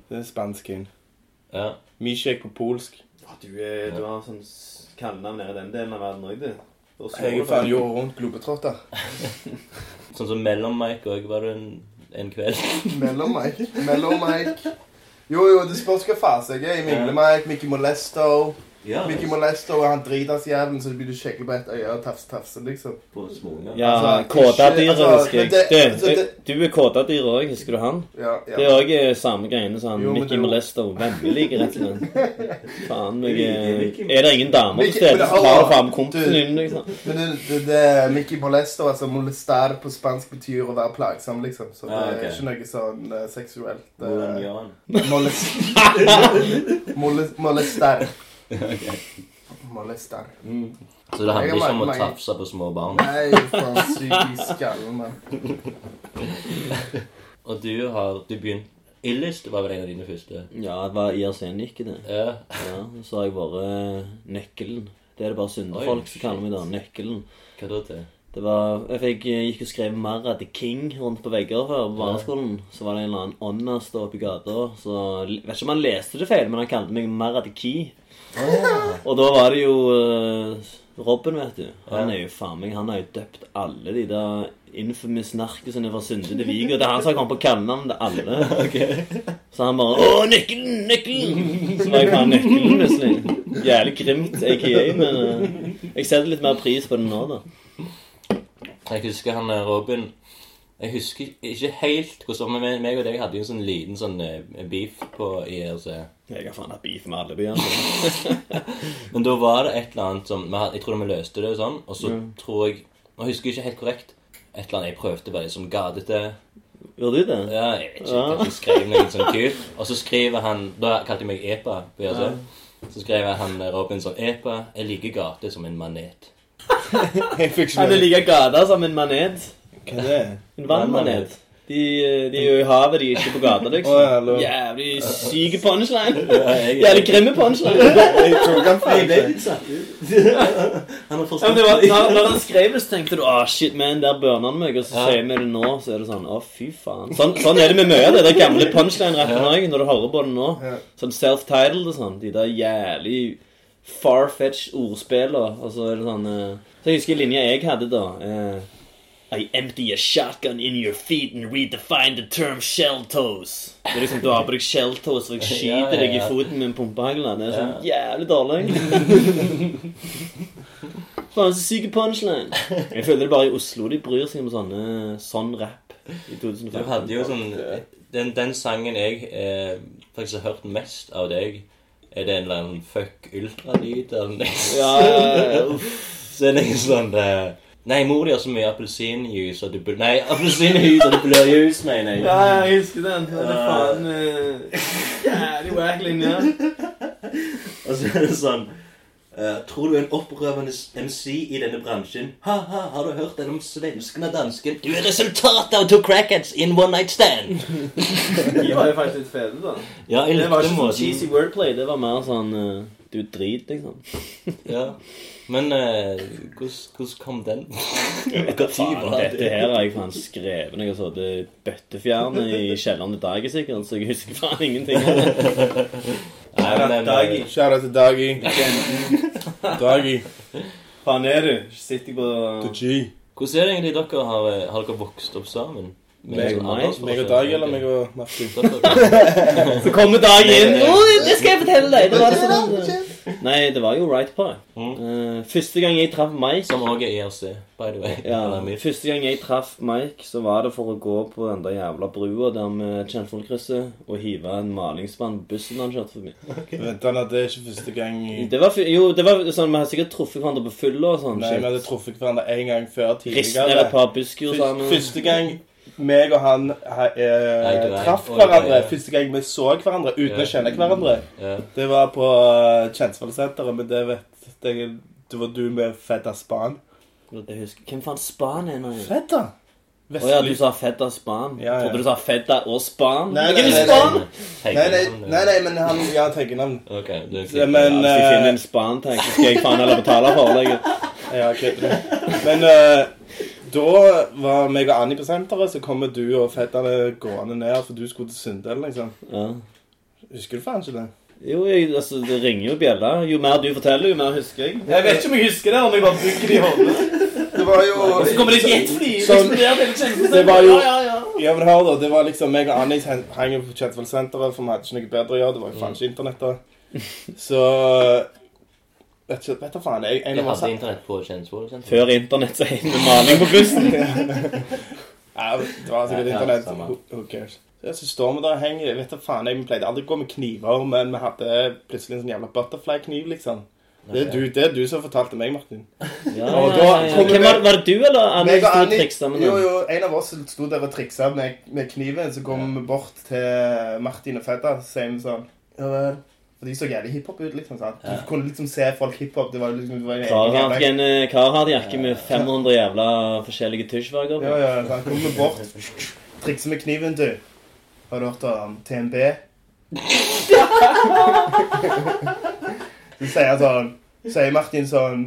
Det er spansken. Ja. Mishek på polsk. [LAUGHS] Å, Du, er, du har sånn s- kallenavn nede i den delen av verden òg, du. Da slår du bare. jo rundt globetrotter. Sånn som mellom Mike òg var det en, en kveld. Mellom Mike. Mellom Mike. Jo, jo, det spørs hva fase jeg er i. Mingle-Mike, Mickey Molesto. Ja, Mickey Molesto han driter seg jævlen, så blir du skjegget på ett øye og tafse-tafse, liksom. på småunger. Ja, Altså, kåtadyr ikke- altså, husker jeg. men det- altså, Du, det- du er kåtadyr òg, husker du han? Ja, ja. Det er òg samme greiene som Jo, han men Mickey det er jo- Molesto. Vemmelig, rett og slett. [LAUGHS] Faen, jeg Mickey, er Mickey. Er det ingen damer til Mickey, stede, men det- så tar du fram Du- kompisen din, liksom. Men det, det, det er Mickey Molesto, altså molestar på spansk betyr å være plagsom, liksom. Så det Ah, er ok. ikke noe sånn eh, seksuelt. eh, Hvordan gjør han? molest, molest, molestar. Molestar. Så det handler Jeg har ikke om å mange- tafse på små barn. Nei, faen, syk i skallen, mann. Og du har du begynt Illest var vel en av dine første? Ja, det var IRC-nikket, det. Ja. Ja, så har jeg vært eh, Nøkkelen. Det er det bare Oi, syndefolk som kaller meg da. Nøkkelen. Hva da til? Det var, jeg fikk, eh, gikk og skrev mer av The King rundt på vegger før på barneskolen. Så var det en eller annen åndas da oppe i gata. Så vet ikke om han leste det feil, men han kalte meg mer av The Key. Og da var det jo eh, Robin, vet du. Han er jo faen meg, han har jo døpt alle de der infamous narkisene fra Sunde til Vigo. Det er han som har kommet på kallenavn til alle. Så han bare 'Å, nøkkelen! Nøkkelen!' Så var jeg faen nøkkelen, plutselig. Jævlig grimt AKA, men eh, jeg setter litt mer pris på det nå, da. Jeg husker han eh, Robin Jeg husker ikke helt hvordan Men meg- meg og deg hadde jo en sånn liten sånn eh, beef på IRC. Jeg har faen hatt beef med alle byene. Men da var det et eller annet som vi had- Jeg tror vi løste det og sånn, og så tror jeg Nå husker jeg ikke helt korrekt. Et eller annet jeg prøvde bare sånn gatete Gjorde du det? Ja, jeg vet ikke. Kanskje jeg skrev noe sånn kult. Og så skriver han Da kalte jeg meg EPA på IRC. Så skrev han eh, Robin sånn EPA er like gate som en manet. Jeg fikk Han er like gata som en manet. Hva er det? En vannmanet. De, eh, de er jo i havet, de er ikke på gata, Å, ja, liksom. lov. Jævlig syke punchline. Ja, jeg- Jævlig grimme punchline. Jeg tok han Nei, fordi det det. er litt sant. Han har Ja, men forstått det var, når, når han skrev det, så tenkte du ah, shit, man, der burner han meg. Og så Ja. sier vi det nå, så er det sånn Å, fy faen. Sånn, sånn er det med mye av det der gamle punchline-rappen òg, når du hører på det nå. Ja. Sånn self-titled og sånn. De der jævlig far-fetched ordspillene. Og så er det sånn eh, Så jeg husker linja jeg hadde, da. Eh, I empty a shotgun in your feet and redefine the term shell toes. Det er liksom du har på deg shell toes, og [LAUGHS] jeg Ja, skyter ja, deg i ja. foten med en pumpehagle. Det er sånn jævlig dårlig. [LAUGHS] Faen, så syk punchline. Jeg føler det er bare i Oslo de bryr seg om sånne sånn rap i Du 2015. hadde jo sånn Den, den sangen jeg eh, faktisk har hørt mest av deg, er det en eller annen fuck ultralyd eller noe? Ja, ja, ja, uff. [LAUGHS] Så er det en sånn eh, Nei, mor di har så mye appelsinjuice og du bl- Nei, appelsinjuice og du blør jus, mener jeg. ja, jeg husker den. Den er faen eh, jævlig wack [LAUGHS] linje. Og så er det sånn eh, Tror du en opprørende MC i denne bransjen? Ha-ha, har du hørt den om svensken og dansken? Du er resultatet av to crackheads in one night stand! De var jo faktisk litt fete, da. Ja, jeg Det var likte ikke sånn måten. cheesy wordplay. Det var mer sånn eh, Du er drit, liksom. Ja. Men eh, hvordan hvordan kom [LAUGHS] den? Hva tid var det? Dette her har jeg faen skrevet når jeg har sittet bøttefjerne i kjelleren til Dagi, sikkert, så jeg husker faen ingenting. av det. Nei, men, Dagi. eh, Shout out til Dagi. Dagi. Faen er du? Sitter på The G. Hvordan er det egentlig dere har, eh, har dere vokst opp sammen? Med Meg og sånn meg? aldersforskjell? Meg og Dagi, eller meg og Martin? [LAUGHS] Dere- Så kommer Dagi inn! Nei, nei, nei. «Oi, det skal jeg fortelle deg! Det var det sånn. Nei, det var jo Right Par. Mm. Eh, første gang jeg traff Mike Som også er IRC, by the way. ja, Eller mitt. Første gang jeg traff Mike, så var det for å gå på den der jævla brua der med Kjensvollkrysset og hive en malingsspann på bussen han kjørte forbi. Vent, Anna, det er ikke første gang i- Det var, fu- jo, det var sånn, Vi hadde sikkert truffet hverandre på fylla og sånn. Nei, vi hadde truffet hverandre en gang før Risten eller et tidligere. par busker sammen. Fyrst- Første gang meg og han ha- Nei, eh, det er- traff og det er- hverandre, første gang vi så hverandre uten å Ja. kjenne hverandre, Ja. det var på eh, Kjensvollsenteret, men det vet det, det var du med Fedda Span. Jeg husker, Hvem faen Span er nå? igjen? Fedda? Å ja, du sa Fedda Span. Ja, ja. Trodde du sa Fedda og Span. Hvem Nei, nei, er nei, Span? Nei, nei, nei, nei, men han Ja, teggenavn. Ok, du er Ja, flink. eh, Ja, Men hvis jeg finner eh, en Span-tag, så skal jeg faen heller betale for det. Ja, ok. Men eh, da var meg og Annie på senteret, så kommer du og fetterne gående ned, for du skulle til Sunndal, liksom. Ja. Husker du faen ikke det? Jo, jeg, altså, det ringer jo bjella. Jo mer du forteller, jo mer husker jeg. Jeg vet ikke om jeg husker det, om jeg bare bruker det i hodet. Det var jo Så kommer det et jetfly! Sånn- eksploderer hele kjennelsen. Det var jo- Ja, ja, ja. Ja, men hør da, det var liksom meg og Annie hen- hang jo på Kjensvollsenteret, for vi hadde ikke noe bedre å gjøre. Det var jo faen ikke internett da. Mm. Så Vet ikke, vet da faen. Jeg, en Jeg av oss hadde internett på Kjensvoll. sant? Før internett så heter det maling på [LAUGHS] bussen. Ja, det var sikkert Ja, ja, internett. samme. Who- Who cares? Så, så står vi der og henger. Jeg Vet da faen, jeg pleide aldri å gå med kniver, men vi hadde plutselig en sånn jævla butterfly-kniv, liksom. Det er, du, det er du som fortalte meg, Martin. Ja, Og ja, da ja, ja. kommer Hvem var, vi- var det du eller Anne som sto og triksa med jo, den? jo, en av oss sto der og triksa med, med kniven. Så kom vi bort til Martin og Fedda, så sier vi sånn ja, vel. For de så jævlig hiphop ut, liksom. sant? Du Ja. kunne liksom se folk hiphop. Det var liksom det var en egen jævla- Carhartt-jakke eh, med 500 jævla forskjellige tusjfarger på. Ja, ja, så han kommer bort, trikser med kniven, du. Har du hørt om TNB? så sier han sånn, sier Martin sånn,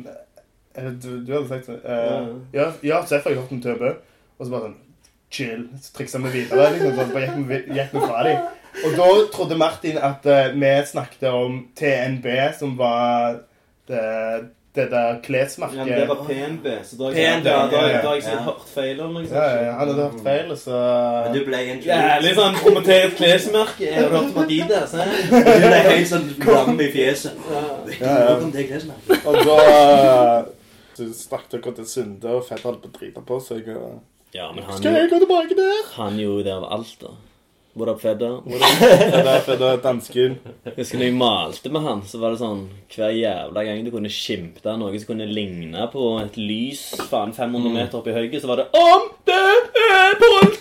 eh, du, du hadde sagt sånn, eh, ja, ja, Seff har jeg hørt om TNB. Og så bare sånn, chill, så trikser vi videre, liksom, så bare gikk vi, gikk vi fra dem. Og da trodde Martin at eh, vi snakket om TNB, som var det, det der klesmerket. PNB, så da jeg- PNB, ja, da- da har jeg sikkert ja. hørt feil om Ja, ja, han hadde hørt feil, så... Men du ble en sånn promotert klesmerke. Jeg har hørt om Adidas. [LAUGHS] Du ble helt sånn lam i fjeset. Ja, ja. Kom til klesmerket. Og da Så snakket dere til Sunde, og fetter holdt på å drite på seg. [LAUGHS] Og... Ja, men han Skal jo, jeg gå tilbake der? han jo der var alt, da. What up, Fedda? Fedder, fedder, dansken. Husker når jeg malte med han, så var det sånn hver jævla gang du kunne skimte av noe som kunne ligne på et lys faen 500 meter opp i høyet, så var det Om det er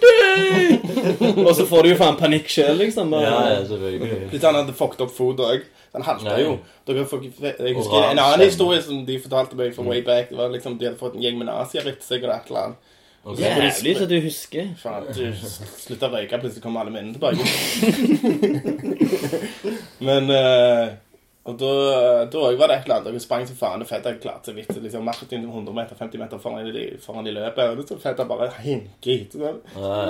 politi! [LAUGHS] Og så får du jo faen panikk sjøl, liksom. Ja, Bare, ja, selvfølgelig. Litt han hadde fucked opp fot òg. Han halta Nei. jo. Dere fuck, jeg husker Oransje. en annen historie som de fortalte meg from way back. Det var liksom De hadde fått en gjeng med nazier etter seg og et eller annet. Ok. Jævlig så du husker. Faen, du slutta å røyke, plutselig kom alle minnene tilbake. Men eh, Og da, da også var det et eller annet, dere sprang til faen, og Fedder klarte så vidt. liksom Martin 100 meter, 50 meter foran i, foran i løpet, og så Fedder bare hinker etter sånn,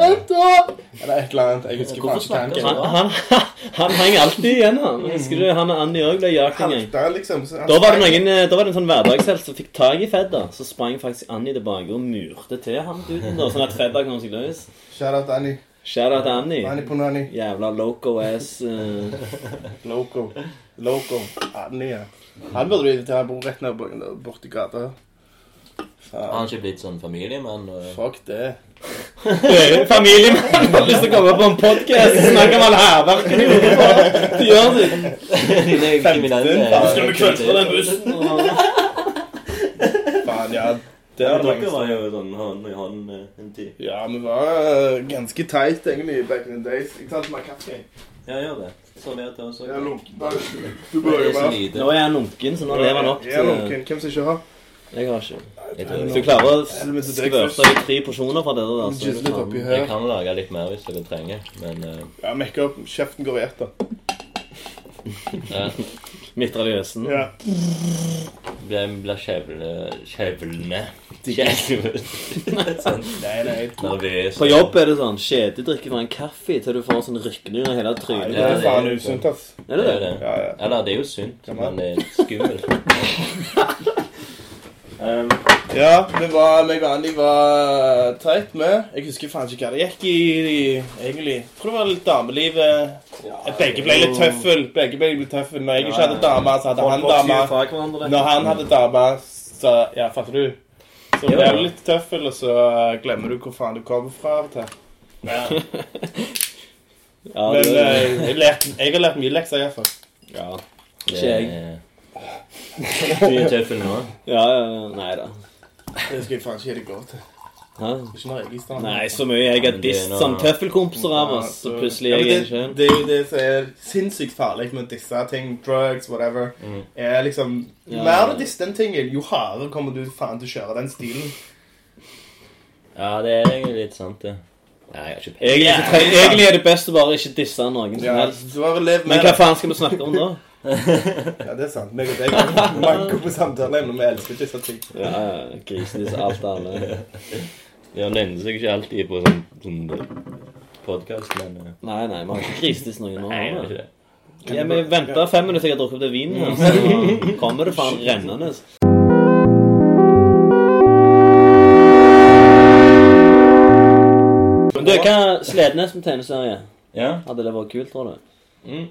Vent da! Eller et eller annet, jeg husker Hvorfor faen snakker han ikke Han, sånn? tanken. han, [LAUGHS] han hang alltid igjen, han. Husker du han og Annie òg ble jakt en gang? Halte han liksom. så han Da var det, sprang- noen, eh, da var det en sånn hverdagshelt som fikk tak i Fedda. Så sprang faktisk Annie tilbake og murte til han duden, da, sånn at Fedda kom seg løs. Shout-out Annie. Shout out Annie. Annie Punani. Jævla loco ass. eh. Loco. Loco. Annie, ja. Han burde du invitere, han bor rett ned bort- borti gata. Har Faen. han ikke blitt sånn familiemann? [LAUGHS] Og... Fuck det. Familiemann har lyst til å komme på en [LAUGHS] podkast og snakke om all hærverken de gjorde på tiårsiden. Skal bussen? Faen, ja. Det er det mange Dere var jo sånn hånd i hånd eh, en tid. Ja, vi var eh, ganske tight egentlig back in the days. Ikke sant, med kaffe? Ja, gjør det. Sånn er det også. Jeg er Det lunken. Du bør jo er så bare... Nå lite. er jeg lunken, så nå lever han opp. Jeg er til- lunken. Hvem som ikke har? Jeg har Jeg, ikke. Hvis tror du jeg, klarer å Helvete, det er ikke skvørte i tre porsjoner fra dere, da, så er Jizzle det litt oppi faen her. jeg kan lage litt mer hvis dere trenger, men eh, Ja, mekke opp. Kjeften går i etter. ja. midtre av jøsen. Ja. blir blir kjevle... Kjevlene. Kjevle. [LAUGHS] sånn Nei, nei. nervøs. På jobb er det sånn kjededrikke fra en kaffe til du får sånn rykninger i hele Det trynet. Ja, er det er faen jo usunt, ass. Er det er det? det. Ja, ja. Eller, det er jo sunt, Kan men man? det er skummelt. um, Ja, vi var, meg og Andy var tight med. Jeg husker faen ikke hva det gikk i, i egentlig. Jeg tror det var litt damelivet. Begge ble litt tøffel. Begge ble litt tøffel. Når jeg ikke hadde dame, så hadde han dame. Når han hadde dame, så Ja, fatter du? Så Jo, blir du jo. litt tøffel, og så eh, glemmer du hvor faen du kommer fra av og til. Ja, Men det er det. eh, jeg, lærte, jeg har lært mye lekser, iallfall. Ja, det Ikke jeg. er- Du er tøffel nå? ja, ja. Nei da. Det skal jeg faen ikke gi det gå til. Hæ? Ikke når jeg er i stand. Nei, så mye jeg Men har det er dist noe- som tøffelkompiser av oss, så plutselig er Ja, men jeg en det, kjønn. det er jo det som er sinnssykt farlig med disse ting. Drugs, whatever. Mm. Er liksom Ja. Mer du disser den tingen, jo hardere kommer du faen til å kjøre den stilen. Ja, det er egentlig litt sant, det. Nei, jeg har ikke Egentlig, så tre- egentlig er det best å bare ikke disse noen som Ja, helst. så bare lev Men med hva det. faen skal vi snakke [LAUGHS] om da? Ja, det er sant. Meg og deg [LAUGHS] er mange gode samtaler men vi elsker disse ting. Ja, ja, grisedisse, alt og alle. Ja, han egner seg ikke alltid på sånn, sånn podkast, men eh, Nei, nei, vi har ikke grisedisse noen nå. Nei, jeg har gjør vi? ikke det. Ja, vi venter fem minutter til jeg har drukket opp det vinen, her, så [LAUGHS] kommer det faen rennende. Men du, hva Slednes som tegneserie? Ja? Hadde det vært kult, tror du? Mm.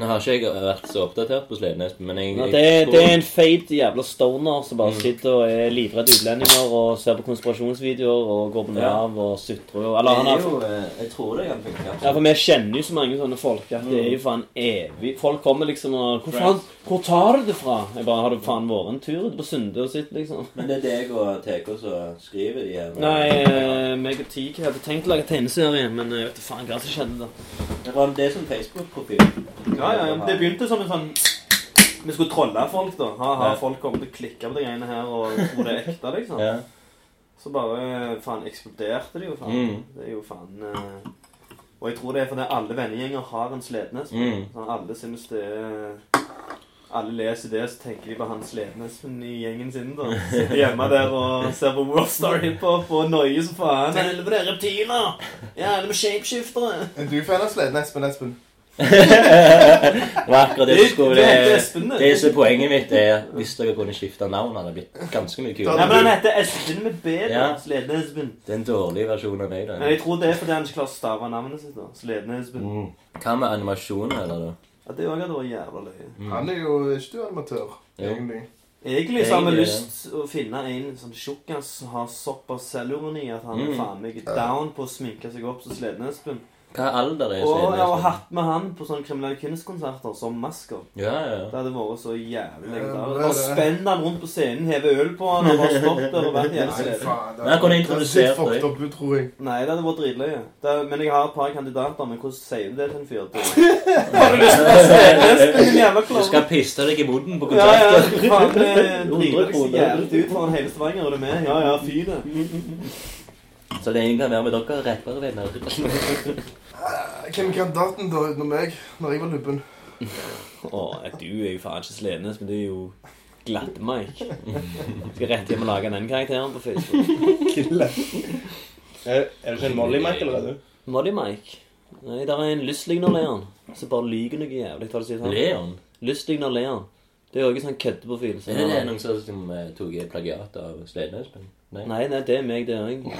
Nå har ikke jeg vært så oppdatert på Sleipnes, men jeg, Ja, jeg det, er- tror- det er en feit jævla stoner som bare sitter og er livredd utlendinger og ser på konspirasjonsvideoer og går på Nav og sutrer og Eller han har eh, Jeg tror det kan funke. altså. Ja, for vi kjenner jo så mange sånne folk at det er jo faen evig Folk kommer liksom og Hvor faen, hvor tar du det fra? Jeg bare Har du faen vært en tur ute på Sunde og sitt, liksom? Men det er deg og TK som skriver de her. Nei, eh, meg og Teak hadde tenkt å lage tegneserie, men eh, jeg vet da faen hva som skjedde da. Det var det som Facebook-profil. Ja, ja, ja, men Det begynte som en sånn Vi skulle trolle folk, da. Ha, ha, Ja. folk kommer til å klikke på de greiene her og tro det er ekte, liksom. Ja. Så bare faen eksploderte det jo, faen. Mm. Det er jo faen eh, Og jeg tror det er fordi alle vennegjenger har en Slednes. Mm. Sånn, alle synes det er Alle leser det, så tenker de på han Slednesen i gjengen sin. da Sitter hjemme der og ser på World Star Hiphop og noier som faen. Helvete, det er reptiler! Ja, det er med shapeshiftere! Er du fan av sleden, Espen Espen? [LAUGHS] Det var akkurat det som skulle Det er Espen, det. Det som er poenget mitt, er at hvis dere kunne skifta navn, hadde det blitt ganske mye Nei, kulere. men han heter Espen med B. da. Ja. Slednesben. Det er en dårlig versjon av meg, da. Men jeg tror det er fordi han ikke klarer å stave navnet sitt. da Slednesben. Mm. Hva med animasjoner, eller? da? Ja, det òg hadde vært jævla løye. Han er jo ikke du animatør, Jo. Egentlig så har vi Egentlig, lyst å finne en sånn tjukkas som har såpass selvironi at han er Mm. faen meg down på å sminke seg opp som Slednesben. Hva alder er Og jeg har Sleipnes? hatt med han på sånne kriminelle kunstkonserter som masker. Ja, ja. Det hadde vært så jævlig Ja, legendarisk. det er Bare det. spenn han rundt på scenen, heve øl på han og bare stopp der og vært hele Sleden. Men jeg kunne introdusert deg. deg. Opp, ut, tror jeg. Nei, det hadde vært dritløye. Det er- Men jeg har et par kandidater, men hvordan sier du det til en fyr? du? Har du lyst til å være Slednesben, din jævla Du klovn? skal pisse deg i munnen på Ja, ja, konserter. faen, [LAUGHS] det driter deg så kroner. jævlig ut foran hele Stavanger, er du med? Ja, ja, fy det. Så det er ingen kan være med dere rappervenner. [LAUGHS] Hvem er kandidaten da utenom meg, når jeg var lubben? Å, du er jo faen ikke Slenes, men du er jo Glatt-Mike. Skal rett hjem og lage den karakteren på Facebook. Kille. Er Eh, er det ikke en Molly-Mike allerede? Molly-Mike. Nei, der er en lystlygner Leon som bare lyver noe jævlig. hva du sier til han. Leon? sånn. Lystlygner Leon. Det er jo ikke sånn køddeprofil. så Er det det han- noen som- som eh, tok i plagiat av Sleipnes? men- Nei. Nei, nei, det er meg, det òg.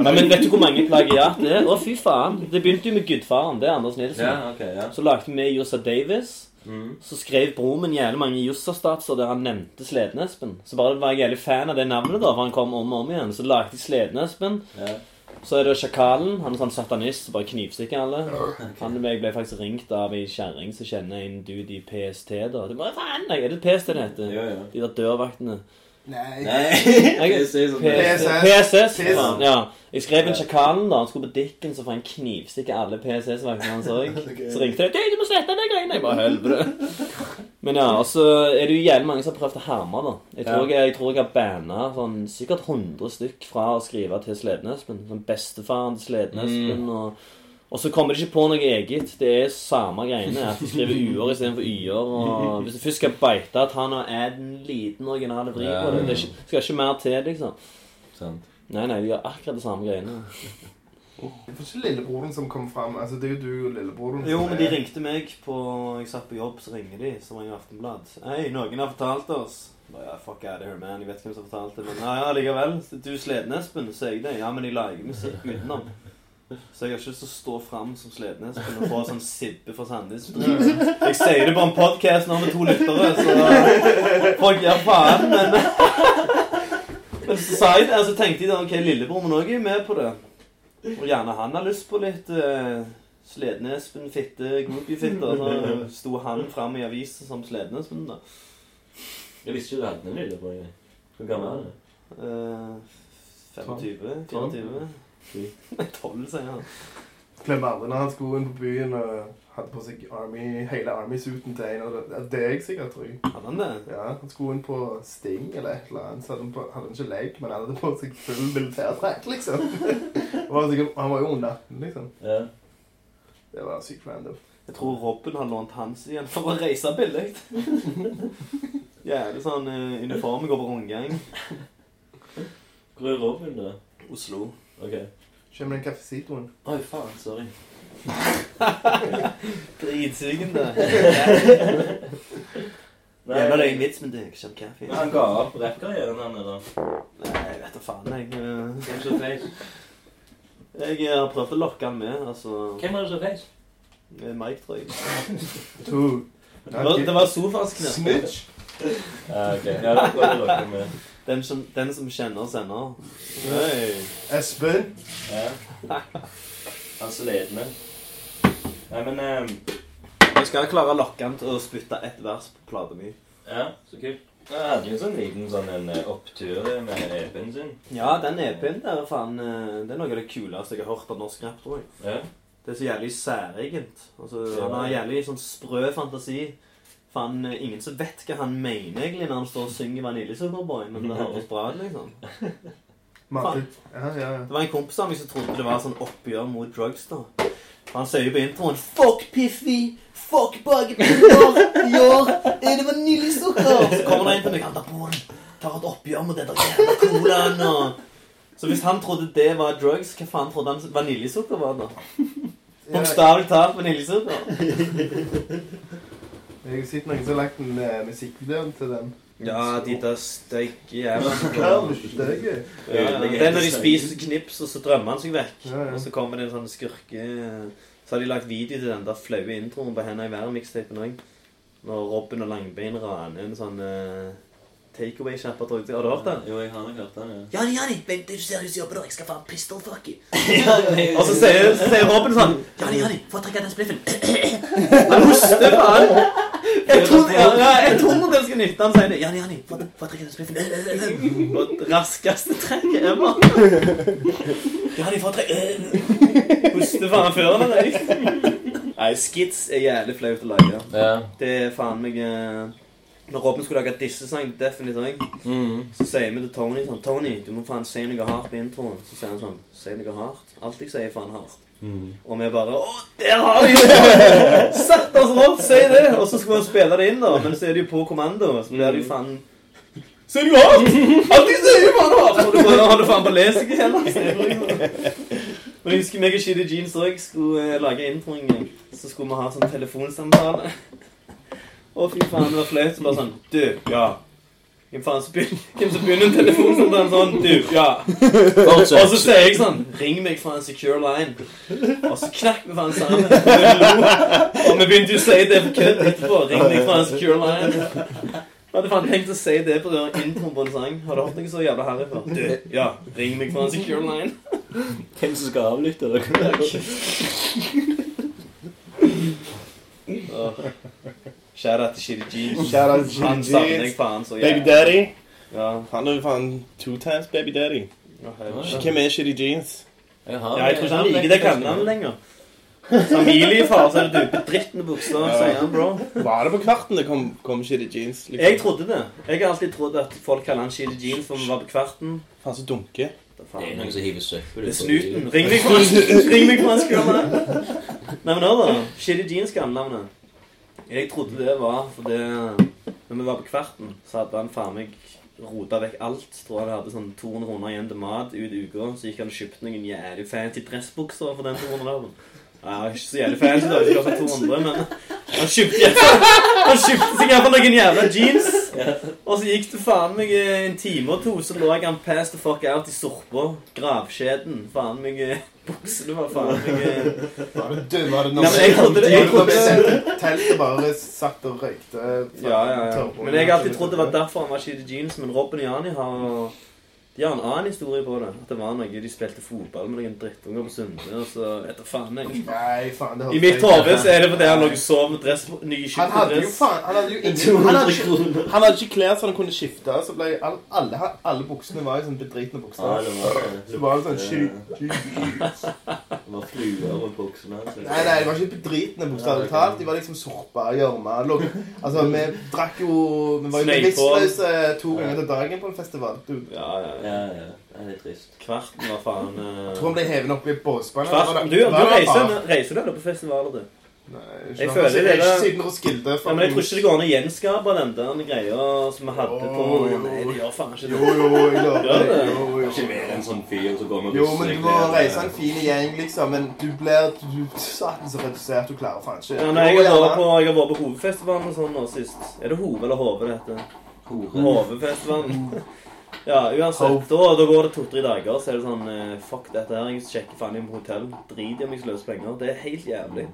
Nei, men vet du hvor mange plagiat det er? Å, fy faen. Det begynte jo med Gudfaren. Det er Anders Nilsen. Ja, Mm. ok, ja. Så lagde vi Jossa Davis. Så skrev broren min jævlig mange Jossa-statser der han nevnte Slednespen. Så bare var jeg jævlig fan av det navnet, da, for han kom om og om igjen. Så lagde jeg Slednespen. ja. Så er det Sjakalen. Han er sånn satanist som bare knivstikker alle. Han og jeg ble faktisk ringt av ei kjerring som kjenner en dude i PST, da. Det bare, faen, nei, er det PST det heter? Ja, ja. De der dørvaktene. Nei. Nei, [LAUGHS] Jeg- jeg sier sånn PSS. PSS. PSS. PSS. faen, Ja. Jeg skrev en sjakalen da. Han skulle på Dickens og få en knivstikke alle PSS-vaktene hans òg. Så ringte jeg. «Du, 'Du må slette de greiene!' Jeg bare helvete. Men ja, og så er det jo jævlig mange som har prøvd å herme, da. Jeg tror jeg, jeg, tror jeg har banna sånn, sikkert 100 stykk fra å skrive til Slednespen. Sånn bestefaren til Slednespen og og så kommer de ikke på noe eget. Det er samme greiene. At de skriver u-er istedenfor y-er. Og hvis du først skal beite at han har en liten original vri på det, det er ikke, skal ikke mer til, liksom. Sant. Nei, nei, de gjør akkurat det samme greiene. Det var ikke lillebroren som kom fram. Altså, det er jo du og lillebroren. Jo, som men de er- ringte meg på Jeg satt på jobb, så ringer de, som var i Aftenblad. Hei, noen har fortalt oss. Bare, ja, fuck out of here, man. Jeg vet ikke hvem som har fortalt det, men ja, ja, likevel. Du sleden, Espen, så jeg det. Ja, men de lager musikk utenom. Så jeg har ikke lyst til å stå fram som Slednespen og få sånn sibbe fra Sandnes. Jeg sier det på en podkast nå med to lyttere, så folk gir faen, men [LAUGHS] Men så sa jeg det, og så tenkte jeg da ok, lillebror min òg er jo med på det. Og gjerne han har lyst på litt eh, Slednespen, fitte, groupie-fitte. Og så sto han fram i avisen som Slednespen, da. Jeg visste ikke du hadde en lyd på engang. Hvor gammel er du? Eh, 25? Tolv. 24? Nei, 12, sier han. Glemmer aldri når han skulle inn på byen og hadde på seg army, hele Army-suiten til en. av de- Det er jeg sikkert, tror jeg. Hadde han det? Ja, han skulle inn på Sting eller et eller annet. Så hadde han, på, hadde han ikke lek, men han hadde på seg full militærdrakt, liksom. Og var sikkert, han var jo under 18, liksom. Ja. Det var sykt random. Jeg tror Robin har lånt hans igjen for å reise billig. Jævlig sånn eh, uniform går på rundgang. Hvor er Robin, da? Oslo. Ok. Kjem den kaffesitoen? Oi, faen. Sorry. Dritsugende. Nei, Jævla løgn vits, men det er ikke kjapp kaffe. Men han ga opp rappkarrieren, han, eller? Nei, jeg vet da faen, jeg. eh, Hvem som feis? Jeg eh, har prøvd å lokke han med, altså. Hvem var det som feis? Med Mike, tror jeg. [LAUGHS] To. Det var, det var sofaens knirk. Snitch. Ja, ok. Ja, da går det dere med. Den som, den som kjenner, sender. Hey. Espen. Ja. Han sledende. Nei, men ehm, Jeg skal klare å lokke han til å spytte ett vers på plata mi. Ja, så kult. Jeg hadde jo en sånn liten sånn en eh, opptur med EP-en sin. Ja, den EP-en der er faen eh, Det er noe av det kuleste jeg har hørt av norsk rap, tror jeg. Ja. Det er så jævlig særegent. Altså, han har jævlig sånn sprø fantasi. Faen, eh, ingen som vet hva han mener egentlig når han står og synger Vanille Superboy, men det høres bra ut, liksom. Martin. Ja, ja, ja. Det var en kompis av meg som trodde det var sånn oppgjør mot drugs, da. For Han sier jo på introen 'Fuck Piffi! Fuck bakepinner! Your er det vaniljesukker?' Så kommer det en til meg han tar på den, tar et oppgjør mot den der jævla colaen og Så hvis han trodde det var drugs, hva faen trodde han vaniljesukker var, da? Bokstavelig talt vaniljesukker. Jeg har sett noen som har lagt en eh, musikkvideo til den. Ja, de der steike jævla [LAUGHS] Klarmustøge. Ja, ja. Det er når de spiser knips, og så drømmer han seg vekk. Ja, ja. Og så kommer det en sånn skurke Så har de lagt video til den der flaue introen på Henda i været-mikstapen òg. Når Robin og Langbein raner en sånn eh, takeaway-sjappa. tror jeg. Har du hørt den? Jo, jeg har nok hørt den, ja. Jani, Jani, vent, du ser ut som jobber der. Jeg skal faen pistol [LAUGHS] fuck you. Og Og så sier, så sier Robin sånn Jani, Jani, få trekke den spliffen. Han hoster faen. Jeg tror ja, ja, jeg tror den skal nytte han sier det. Jani, Jani, få få trekke den spliffen. Og raskeste trekket ever. Jani, få trekke Hoster Eh, faen før han er [LAUGHS] Nei, skits er jævlig flaut å lage. Ja. Det er faen meg eh, Når Robin skulle lage dissesang, definitivt òg. Mm. Så sier vi til Tony sånn Tony, du må faen si noe hardt på introen. Så sier han sånn Si noe hardt. Alt jeg sier, er faen hardt. Og vi bare Å, der har de [LAUGHS] det! Satt oss nå, si det! Og så skulle man spille det inn, da. Men så er det jo på kommando. Så blir det jo faen Ser du hardt? Alt de sier, er faen hardt! Og du bare har det faen på lesing igjen. [LAUGHS] Men jeg husker meg og Shitty Jeans òg skulle eh, lage introen. Så skulle vi ha sånn telefonsamtale. Å, fy faen, det var flaut. Så bare sånn Du, ja. Hvem faen som begynner, [LAUGHS] hvem som begynner en telefonsamtale sånn? Du, ja. Og så sier jeg sånn Ring meg fra en secure line. Og så knakk vi faen sammen. Vi lo. [LAUGHS] Og vi begynte jo å si det på kødd etterpå. Ring meg fra en secure line. Jeg hadde faen tenkt å si det på den introen på en sang. Har du hørt noe så jævla harry før? Du, ja. Ring meg fra en secure line. Hvem som skal avlytte dere? Åh. Shout out til Shitty G. Shout out to Han Shitty savner Jeans. jeg faen så Baby jævlig. Daddy. Ja. Han er jo faen two times baby daddy. Å, helvete. Hvem er Shitty Jeans? Ja, jeg tror ikke han liker det kallenavnet lenger. Familiefar, så er det du. Bedrittende bokstav, sier han, bro. Var det på kvarten det kom, kom Shitty Jeans? Liksom? Jeg trodde det. Jeg har alltid trodd at folk kaller han Shitty Jeans for vi var på kvarten. Faen, så dunke. Da Det er faen. noen som hiver søppel. Det er snuten. Ring meg for en- Ring meg for en skrømme. Nei, men hør da. Shitty Jeans kallenavnet. Jeg trodde det var fordi når vi var på kvarten, så hadde han faen meg rota vekk alt. Tror han hadde sånn 200 kroner igjen til mat ut i uka. Så gikk han og kjøpte noen jævlig fancy dressbukser for den 200-lappen. Ja, ikke så jævlig fancy, da. Ikke for 200, men han kjøpte, i hvert fall- han kjøpte seg iallfall noen jævla jeans. Og så gikk det faen meg eh, en time og to, så lå jeg han pass the fuck out i sorpa. Gravskjeden. Faen meg eh, Buksene var faen meg eh, Du, var det Nei, men jeg trodde det- jeg Når vi trodde- satt i teltet bare satt og røykte eh, Ja, ja, ja. Men jeg har alltid trodd det var derfor han var skit i jeans, men Robin og Jani har de har en annen historie på det. At det var noe de spilte fotball med noen drittunger på Sunde. Og så etter faen jeg. Nei, faen, det I mitt hode så er det fordi han lå og sov med dress, ny Han hadde jo skytterdress. faen Han hadde jo ingen Han hadde ikke, kroner. han hadde ikke klær så han kunne skifte. Så ble alle, alle, alle buksene var jo sånn bedritne Ja, bukser. det var det. Så var det sånn sju- sju- Det var fluer på buksene altså. hans. Nei, nei, det var ikke bedritne bokstavelig talt. De var liksom sorpa, gjørma lå- Altså, vi drakk jo Vi var jo Snøypål. bevisstløse to ganger til dagen på en festival. Du, jeg Ja, ja. ja. Ja, ja. Det er litt trist. Kvarten var faen eh, tror han ble hevet opp i et båsbane. Kvarten, du, du reiser, reiser du eller på festivaler, du? Jeg Jeg føler føler det det Ikke der- siden Roskilde. Ja, men Jeg tror ikke det går an å gjenskape den der greia som vi hadde på Jo, jo. Nei, det gjør faen ikke Jo, det. jo, jeg Gjør lover. det? Jo, Ikke jo. være en sånn fyr som går med Jo, men du må reise en fin gjeng, liksom. Men du blir du, satan så redusert. Du klarer faen ikke Ja, nei, jeg har Jo, vært gjerne. på, jeg har vært på Hovefestivalen og sånn nå sist. Er det Hove eller Hove det heter? Mm. Hovefestivalen. [LAUGHS] Ja, uansett. Da, da går det to-tre dager, så er det sånn eh, Fuck dette her, jeg sjekker faen inn på hotell. Drit i om jeg skal løse penger. Det er helt jævlig.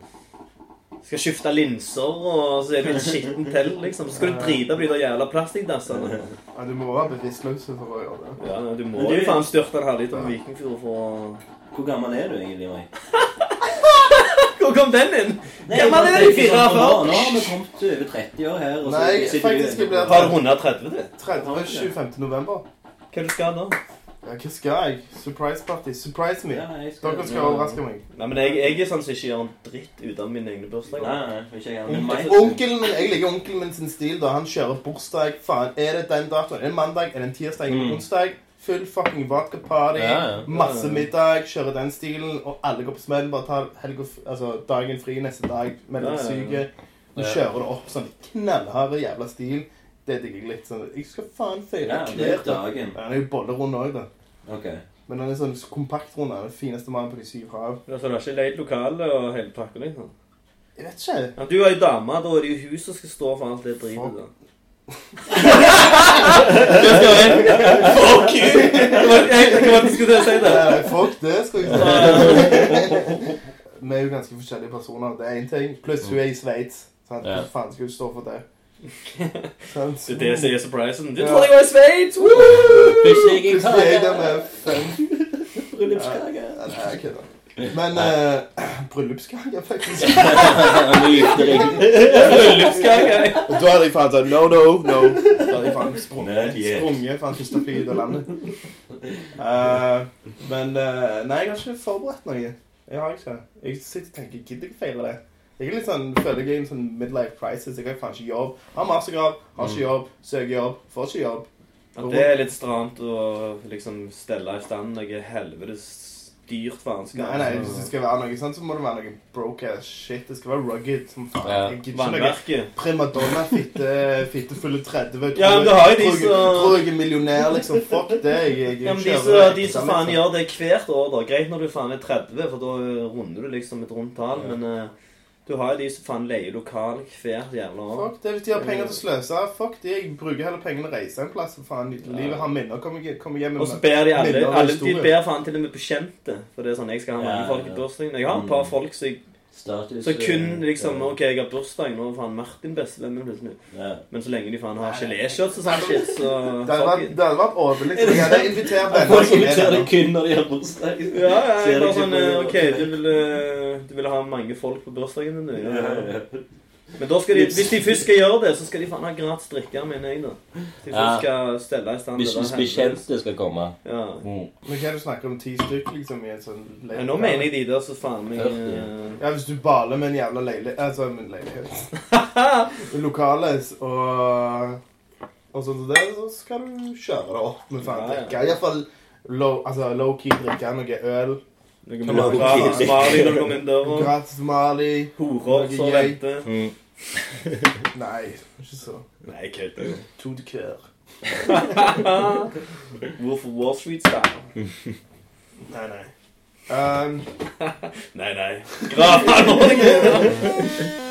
Skal skifte linser, og så er det et skittent telt, liksom. Så skal du drite på de der jævla plastikkdassene. Ja, du må være bevisstløs for å gjøre det. Ja, du må Men du- jo faen styrte en halvliter med Vikingfjord for å Hvor gammel er du egentlig, Mai? Hvor kom den inn? Gammel er du? Nå 44? nå har vi kommet til over 30 år her. og så Nei, jeg- sitter du- faktisk, jeg blir- Har du 130 til? 30. 25. november. Hva du skal da? Ja, hva skal jeg? Surprise party. Surprise me. Ja, jeg Dere skal overraske meg. Nei, men jeg, jeg er sånn som ikke gjør en dritt ut av mine egne bursdager. Nei, nei, ikke jeg. Men Mai Onkelen min, Jeg liker onkelen min sin stil. da Han kjører bursdag. faen, Er det den datoen? Er det mandag? Er det en tirsdag? Er det en Mm. onsdag? Full fucking vodka party. Ja, [LAUGHS] ja. Masse middag. Kjører den stilen. Og alle går på smell. Bare tar helg og, f- altså, dagen fri neste dag. Melder Ja, deg ja, ja. syke. Du kjører det opp sånn knallhard jævla stil. Det digger jeg litt. sånn, Jeg skal faen feire Ja, det er hver dag. dagen. Ja, Han er jo bollerund òg, da. Ok. Men han er sånn kompaktrund. Han er den fineste mannen på de syv hav. Altså, du har ikke leid lokale og hele pakka, liksom? Jeg vet ikke. Ja, du er jo dame, da er det jo hun som skal stå for alt det dritet der. Fuck [LAUGHS] you! Det var jeg hva jeg skulle til å si det. Nei, [LAUGHS] Fuck det, skal jeg si. Vi er jo ganske forskjellige personer. Det er én ting. Pluss hun er i Sveits. sant? Ja. Hva faen skal hun stå for det? Sant? Det er det som er surprisen. Du trodde jeg var i Sveits! woo! Plutselig gikk Plutselig er jeg der [LAUGHS] med fem bryllupskake. Nei, jeg kødder. Men uh, bryllupskake, faktisk. Du gifter deg. Bryllupskake. Og da hadde jeg faen sånn No, no, no. Da hadde jeg faen Nei, sprunget. yeah. Sprunget faen første fly ut av landet. Eh, men eh, Nei, jeg har ikke forberedt noe. Jeg har ikke. Jeg sitter og tenker Gidder jeg feire det? Jeg er litt sånn, føler jeg er i en sånn midlife crisis. Jeg har faen ikke jobb. Har mastergrad, har ikke jobb, søker jobb, får ikke jobb. Ja, det er litt stramt å liksom stelle i stand noe helvetes dyrt vanskelig. Nei, nei, hvis det skal være noe sånt, så må det være noe broke ass shit. Det skal være rugged som faen. Ja. Jeg gidder ikke noe Vannverket. primadonna, fitte, fittefulle 30 Ja, men du har jo de som- Tror jeg er millionær, liksom. Fuck det. Jeg, jeg, Ja, men de kjører som- det, de som liksom. faen gjør det hvert år, da. Greit når du faen er 30, for da eh, runder du liksom et rundt tall, men eh, du har jo de som faen leier lokal hvert jævla år. Fuck det, Hvis de har penger til å sløse, fuck det. Jeg bruker heller pengene til å reise en plass. for Faen, Livet har minner. Kom, jeg- kom hjem Og så ber de alle, minner og alle De historier. ber faen til og med bekjente. For det er sånn, jeg skal ha mange Ja, folk ja. i bursdagen. Jeg har et par folk som jeg- Status så kun eh, liksom ja. OK, jeg har bursdag nå, faen Martin bestevennen min plutselig. Ja. Men så lenge de faen har geléshirts og sånn shit, så Det hadde vært- det hadde vært overlig. Jeg hadde invitert venner [LAUGHS] Folk som er inviterer venner. deg kun når de har bursdag. Ja, ja, Ser jeg deg bare ikke sånn på- eh, OK, du vil, eh, du vil ha mange folk på bursdagen din, du. Ja, Ja. ja, ja. Men da skal de, hvis de først skal gjøre det, så skal de faen ha gratis drikke, mener jeg, da. Ja. De først skal stelle i stand Hvis til hvis bekjente skal komme. Ja. Mm. Men hva er det du snakker om? Ti stykk, liksom? i en sånn Men nå mener jeg de der som faen meg eh, Ja, hvis du baler med en jævla leilighet Altså, med en [LAUGHS] leilighet Lokales og Og sånn som det, så skal du kjøre det opp med faen Ja, ja. drikke. I hvert fall low, altså, low-key drikke noe øl. Noen Kan man- gratis Mali når du kommer inn døra. Gratis Mali. Horer som Gøy. venter. Mm. [LAUGHS] Nei, ikke så. Nei, kødder du? To de kør. Wolf of Wall Street style. Nei, nei. Um, Nei, nei. Grava Norge!